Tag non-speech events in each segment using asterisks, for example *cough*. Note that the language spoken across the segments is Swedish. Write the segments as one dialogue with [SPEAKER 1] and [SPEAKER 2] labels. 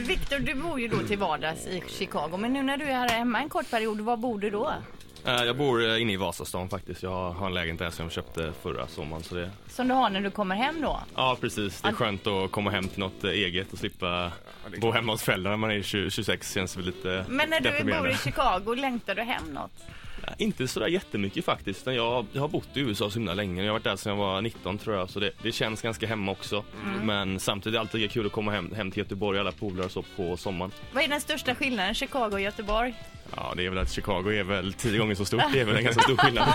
[SPEAKER 1] Victor, Eh, du bor ju då till vardags i Chicago, men nu när du är här hemma en kort period, var bor du då?
[SPEAKER 2] Eh, Jag bor eh, inne i Vasastan faktiskt. Jag har en lägenhet där som jag köpte förra sommaren. Så det...
[SPEAKER 1] Som du har när du kommer hem då?
[SPEAKER 2] Ja, precis. Det är skönt att komma hem till något eh, eget och slippa bo hemma hos föräldrarna när man är 20, 26. känns väl lite
[SPEAKER 1] Men när du bor
[SPEAKER 2] deprimerande.
[SPEAKER 1] i Chicago, längtar du hem något?
[SPEAKER 2] Eh, Inte sådär jättemycket faktiskt. utan Jag, jag har bott i USA så himla länge. Jag har varit där sedan jag var 19 tror jag. Så det, det känns ganska hemma också.
[SPEAKER 1] Mm.
[SPEAKER 2] Men samtidigt är det alltid lika kul att komma hem, hem till Göteborg alla polare och så på sommaren.
[SPEAKER 1] Vad är den största skillnaden Chicago och Göteborg?
[SPEAKER 2] Ja, det är väl att Chicago är väl tio gånger så stort. Det är väl en ganska
[SPEAKER 1] *laughs*
[SPEAKER 2] stor skillnad.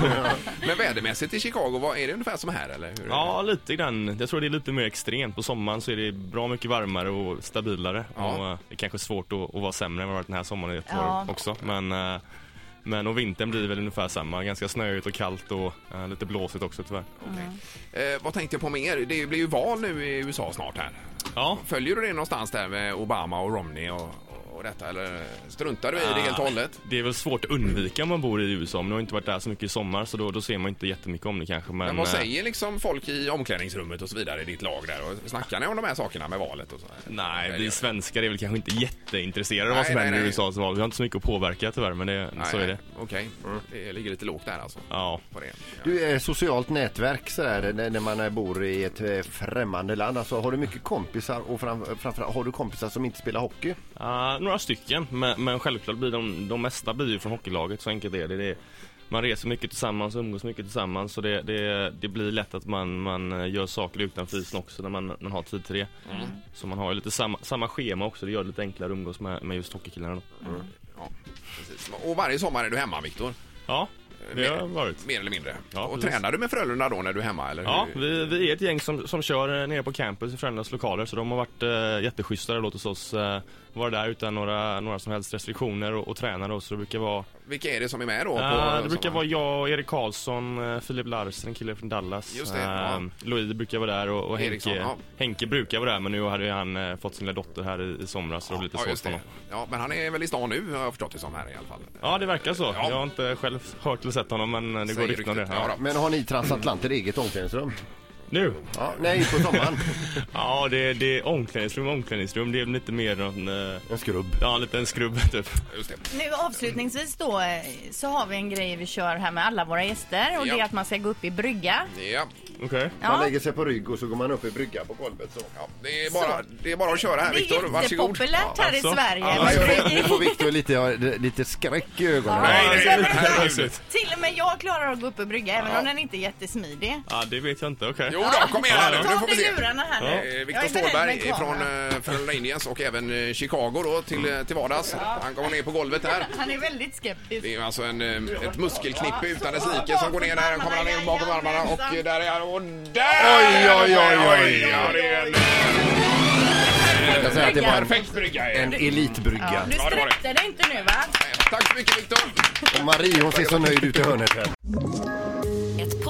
[SPEAKER 3] Men vädermässigt i Chicago, vad, är det ungefär som här eller? Hur är det?
[SPEAKER 2] Ja, lite grann. Jag tror det är lite mer extremt. På sommaren så är det bra mycket varmare och stabilare.
[SPEAKER 3] Ja.
[SPEAKER 2] Och, eh, det är kanske är svårt att, att vara sämre än vad det har varit den här sommaren i Göteborg
[SPEAKER 1] Ja.
[SPEAKER 2] också. Men, eh, men och vintern blir väl ungefär samma. Ganska snöigt och kallt och eh, lite blåsigt också tyvärr.
[SPEAKER 3] Eh, vad tänkte jag på mer? Det blir ju val nu i USA snart här.
[SPEAKER 2] Ja,
[SPEAKER 3] Följer du det någonstans där med Obama och Romney och, och detta eller struntar du i det
[SPEAKER 2] Ah.
[SPEAKER 3] helt och hållet?
[SPEAKER 2] det är väl svårt att undvika om man bor i USA. Men nu har jag inte varit där så mycket i sommar så då, då ser man inte jättemycket om det kanske. Men,
[SPEAKER 3] Men vad
[SPEAKER 2] eh,
[SPEAKER 3] säger liksom folk i omklädningsrummet och så vidare i ditt lag där? Och snackar ni om de här sakerna med valet och så?
[SPEAKER 2] Nej,
[SPEAKER 3] Eller-
[SPEAKER 2] vi svenskar är väl kanske inte jätteintresserade av vad som
[SPEAKER 3] Nej, nej,
[SPEAKER 2] händer i
[SPEAKER 3] nej.
[SPEAKER 2] USAs val. Vi har inte så mycket att påverka tyvärr, men det,
[SPEAKER 3] Nej,
[SPEAKER 2] så är det. Mm.
[SPEAKER 3] nej, Okej, det ligger lite lågt där alltså.
[SPEAKER 2] Ja.
[SPEAKER 3] På det. Ja.
[SPEAKER 4] Du är socialt nätverk sådär när när man eh, bor i ett eh, främmande land. Alltså har du mycket kompisar och fram, framförallt har du kompisar som inte spelar hockey?
[SPEAKER 2] Ja, några stycken, men, men självklart blir de, de mesta blir ju från hockeylaget, så enkelt är det. det är, man reser mycket tillsammans, umgås mycket tillsammans, så det, det, det blir lätt att man, man eh, gör saker utanför isen också när man, man har tid till det. Så man har ju lite samma, samma schema också, det gör det lite enklare att umgås med, med just hockeykillarna. Då.
[SPEAKER 3] Ja, precis. Och varje sommar är du hemma, Viktor?
[SPEAKER 2] Ja, det har varit.
[SPEAKER 3] Mer eller mindre.
[SPEAKER 2] Ja,
[SPEAKER 3] och
[SPEAKER 2] precis.
[SPEAKER 3] tränar du med Frölunda då när du är hemma? Eller
[SPEAKER 2] Ja,
[SPEAKER 3] hur?
[SPEAKER 2] vi, vi är ett gäng som, som kör eh, nere på campus i Frölundas lokaler så de har varit eh, jätteschyssta och låtit oss eh, vara där utan några, några som helst restriktioner och, och träna då, så det brukar vara
[SPEAKER 3] Vilka är det som är med då? på
[SPEAKER 2] Ja, Ah, Eh, det brukar
[SPEAKER 3] sommaren?
[SPEAKER 2] vara jag, Erik Karlsson, eh, Filip Larsen, en kille från Dallas.
[SPEAKER 3] Just det, ja.
[SPEAKER 2] Eh, Louis brukar vara där och, och Henke,
[SPEAKER 3] Eriksson, ja.
[SPEAKER 2] Henke brukar vara där men nu hade ju han eh, fått sin lilla dotter här i, i somras så det blir lite
[SPEAKER 3] Ja,
[SPEAKER 2] svårt
[SPEAKER 3] just
[SPEAKER 2] för
[SPEAKER 3] det.
[SPEAKER 2] honom.
[SPEAKER 3] Ja, men han är väl i stan nu har jag förstått det som här i alla fall.
[SPEAKER 2] Ja, det verkar så.
[SPEAKER 3] Ja.
[SPEAKER 2] Jag har inte själv hört eller sett honom men eh, det går
[SPEAKER 3] Säger
[SPEAKER 2] rykten om det.
[SPEAKER 3] ryktet. Ja,
[SPEAKER 2] Ja.
[SPEAKER 3] då.
[SPEAKER 4] Men har ni transatlanter eget omklädningsrum?
[SPEAKER 2] Nu?
[SPEAKER 4] Ja, nej, på sommaren.
[SPEAKER 2] Ja, det, det är omklädningsrum, omklädningsrum. Det är lite mer någon, eh,
[SPEAKER 4] *laughs* En skrubb.
[SPEAKER 2] ja, en liten skrubb *laughs* typ.
[SPEAKER 3] Just det.
[SPEAKER 1] Nu avslutningsvis då eh, så har vi en grej vi kör här med alla våra gäster och
[SPEAKER 3] Ja.
[SPEAKER 1] det är att man ska gå upp i brygga.
[SPEAKER 3] Ja.
[SPEAKER 2] Okej.
[SPEAKER 4] Man
[SPEAKER 1] Ja,
[SPEAKER 4] lägger sig på rygg och så går man upp i bryggan på golvet så.
[SPEAKER 3] Ja, det, är bara, det är bara att köra här
[SPEAKER 1] det
[SPEAKER 3] Viktor,
[SPEAKER 1] är
[SPEAKER 3] varsågod.
[SPEAKER 1] jättepopulärt här i
[SPEAKER 2] alltså.
[SPEAKER 1] Sverige.
[SPEAKER 2] Ja,
[SPEAKER 1] med
[SPEAKER 4] Ja, jag- Nu
[SPEAKER 1] bryggor.
[SPEAKER 4] får Viktor lite, ja, lite skräck i ögonen.
[SPEAKER 1] Ja.
[SPEAKER 3] Nej, nej, nej,
[SPEAKER 1] Herregud.
[SPEAKER 3] herregud.
[SPEAKER 1] Till och med jag klarar att gå upp i brygga även om den inte är jättesmidig.
[SPEAKER 2] Ja, det vet jag inte. Okej.
[SPEAKER 3] Jo då, kom igen här nu, nu
[SPEAKER 1] Ta
[SPEAKER 3] får
[SPEAKER 1] av
[SPEAKER 3] vi
[SPEAKER 1] dig
[SPEAKER 3] se.
[SPEAKER 1] lurarna här nu.
[SPEAKER 3] Eh,
[SPEAKER 1] Jag
[SPEAKER 3] Viktor
[SPEAKER 1] är beredd
[SPEAKER 3] Ståhlberg
[SPEAKER 1] med en kamera.
[SPEAKER 3] från eh, Frölunda Indians och även eh, Chicago då till,
[SPEAKER 2] Mm.
[SPEAKER 3] eh, till vardags. Han kommer ner på golvet här.
[SPEAKER 1] Han är väldigt skeptisk.
[SPEAKER 3] Det är alltså en, eh, ett muskelknippe utan dess like som går ner där. Kommer han in bakom armarna och eh, där är han. Och där!
[SPEAKER 4] Oj, oj, oj, oj.
[SPEAKER 3] Ja, det är en eh,
[SPEAKER 4] Jag kan säga att det var en,
[SPEAKER 3] perfekt brygga. eh.
[SPEAKER 4] en elitbrygga.
[SPEAKER 1] Du
[SPEAKER 3] Ja, det var det.
[SPEAKER 1] sträckte dig inte nu va?
[SPEAKER 3] Tack så mycket Viktor.
[SPEAKER 4] Och Marie hon ser så nöjd ut i hörnet här.
[SPEAKER 5] Ett